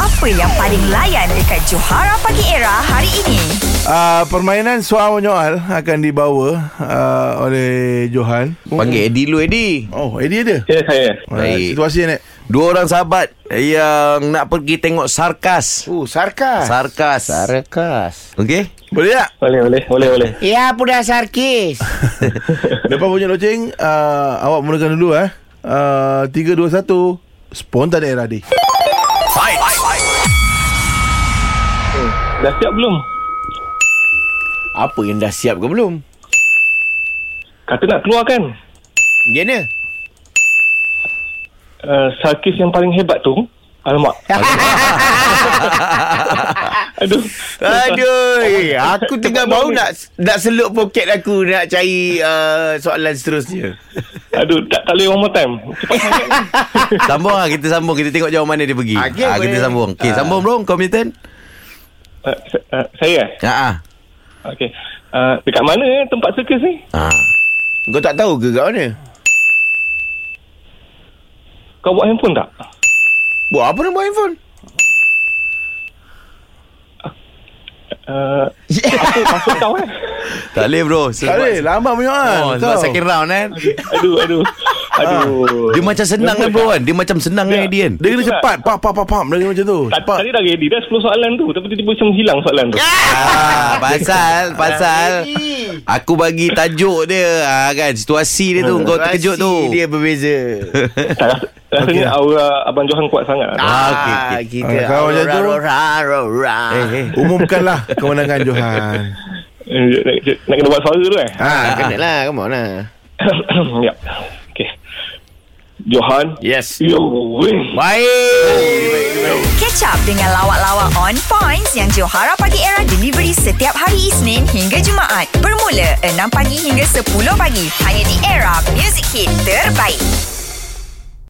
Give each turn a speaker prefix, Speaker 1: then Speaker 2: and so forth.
Speaker 1: Apa yang paling layan dekat Johara Pagi Era hari ini?
Speaker 2: Uh, permainan soal menyoal akan dibawa uh, oleh Johan.
Speaker 3: Panggil Eddie dulu Eddie
Speaker 2: Oh, Eddie ada.
Speaker 4: Ya saya
Speaker 2: Alright,
Speaker 3: Baik.
Speaker 2: Ah, situasi ni.
Speaker 3: Dua orang sahabat Yang nak pergi tengok Sarkas
Speaker 5: Oh, sarkas.
Speaker 3: Sarkas
Speaker 5: Sarkas.
Speaker 3: Okey
Speaker 2: Boleh tak?
Speaker 4: Boleh boleh boleh boleh
Speaker 5: Ya, budak sarkis.
Speaker 2: Lepas bunyi loceng, uh, awak mulakan dulu eh. Uh, 3 2 1 spontan era di.
Speaker 4: Dah siap belum?
Speaker 3: Apa yang dah siap ke belum?
Speaker 4: Kata nak keluar kan?
Speaker 3: Macam mana?
Speaker 4: Uh, sarkis yang paling hebat tu Alamak Aduh
Speaker 3: Aduh Aku tengah baru nak Nak seluk poket aku Nak cari uh, Soalan seterusnya
Speaker 4: Aduh tak, tak boleh one more time Cepat sangat ni.
Speaker 3: Sambung lah Kita sambung Kita tengok jauh mana dia pergi
Speaker 5: Okey,
Speaker 3: ah, Kita
Speaker 5: boleh.
Speaker 3: sambung Okey
Speaker 5: Ah.
Speaker 3: sambung bro Kau punya turn Ah,
Speaker 4: uh, sa- uh, Saya eh?
Speaker 3: Haa
Speaker 4: Okey uh, Dekat mana eh, tempat sirkus ni?
Speaker 3: ah.
Speaker 5: Kau tak tahu ke kat mana?
Speaker 4: Kau buat handphone tak?
Speaker 5: Buat apa nombor handphone?
Speaker 4: Uh, apa password kau eh?
Speaker 3: Tak boleh bro
Speaker 2: Tak boleh, lambat menyoal.
Speaker 3: Oh, sebab
Speaker 2: Kau.
Speaker 3: second round kan
Speaker 4: Aduh aduh Aduh
Speaker 3: Ah, Dia macam senang kan bro kan Dia macam senang kan dia kan
Speaker 2: Dia kena cepat, pam pam pam pam, dia kena macam tu.
Speaker 4: Ta- Tadi dah ready dah 10 soalan tu Tapi tiba-tiba macam hilang soalan tu
Speaker 3: Ah, pasal pasal aku bagi tajuk dia ah, kan situasi dia tu kau terkejut tu.
Speaker 5: Rahsia Dia berbeza.
Speaker 4: Tak, ras- Rasanya aura Abang Johan kuat sangat
Speaker 3: Ah, okey,
Speaker 5: ah,
Speaker 3: okey.
Speaker 5: kita
Speaker 2: Ah, kalau macam tu-
Speaker 5: rora, rora.
Speaker 3: Eh, eh.
Speaker 2: Umumkanlah kemenangan Johan.
Speaker 4: Eh, nak, nak kena buat suara tu eh
Speaker 5: Ah, kena lah, come on lah.
Speaker 4: yep. Okay. Johan.
Speaker 5: Yes.
Speaker 4: You win.
Speaker 3: Baik.
Speaker 1: Catch up dengan lawak-lawak on points yang Johara Pagi Era delivery setiap hari Isnin hingga Jumaat. Bermula 6 pagi hingga 10 pagi. Hanya di Era Music Hit Terbaik.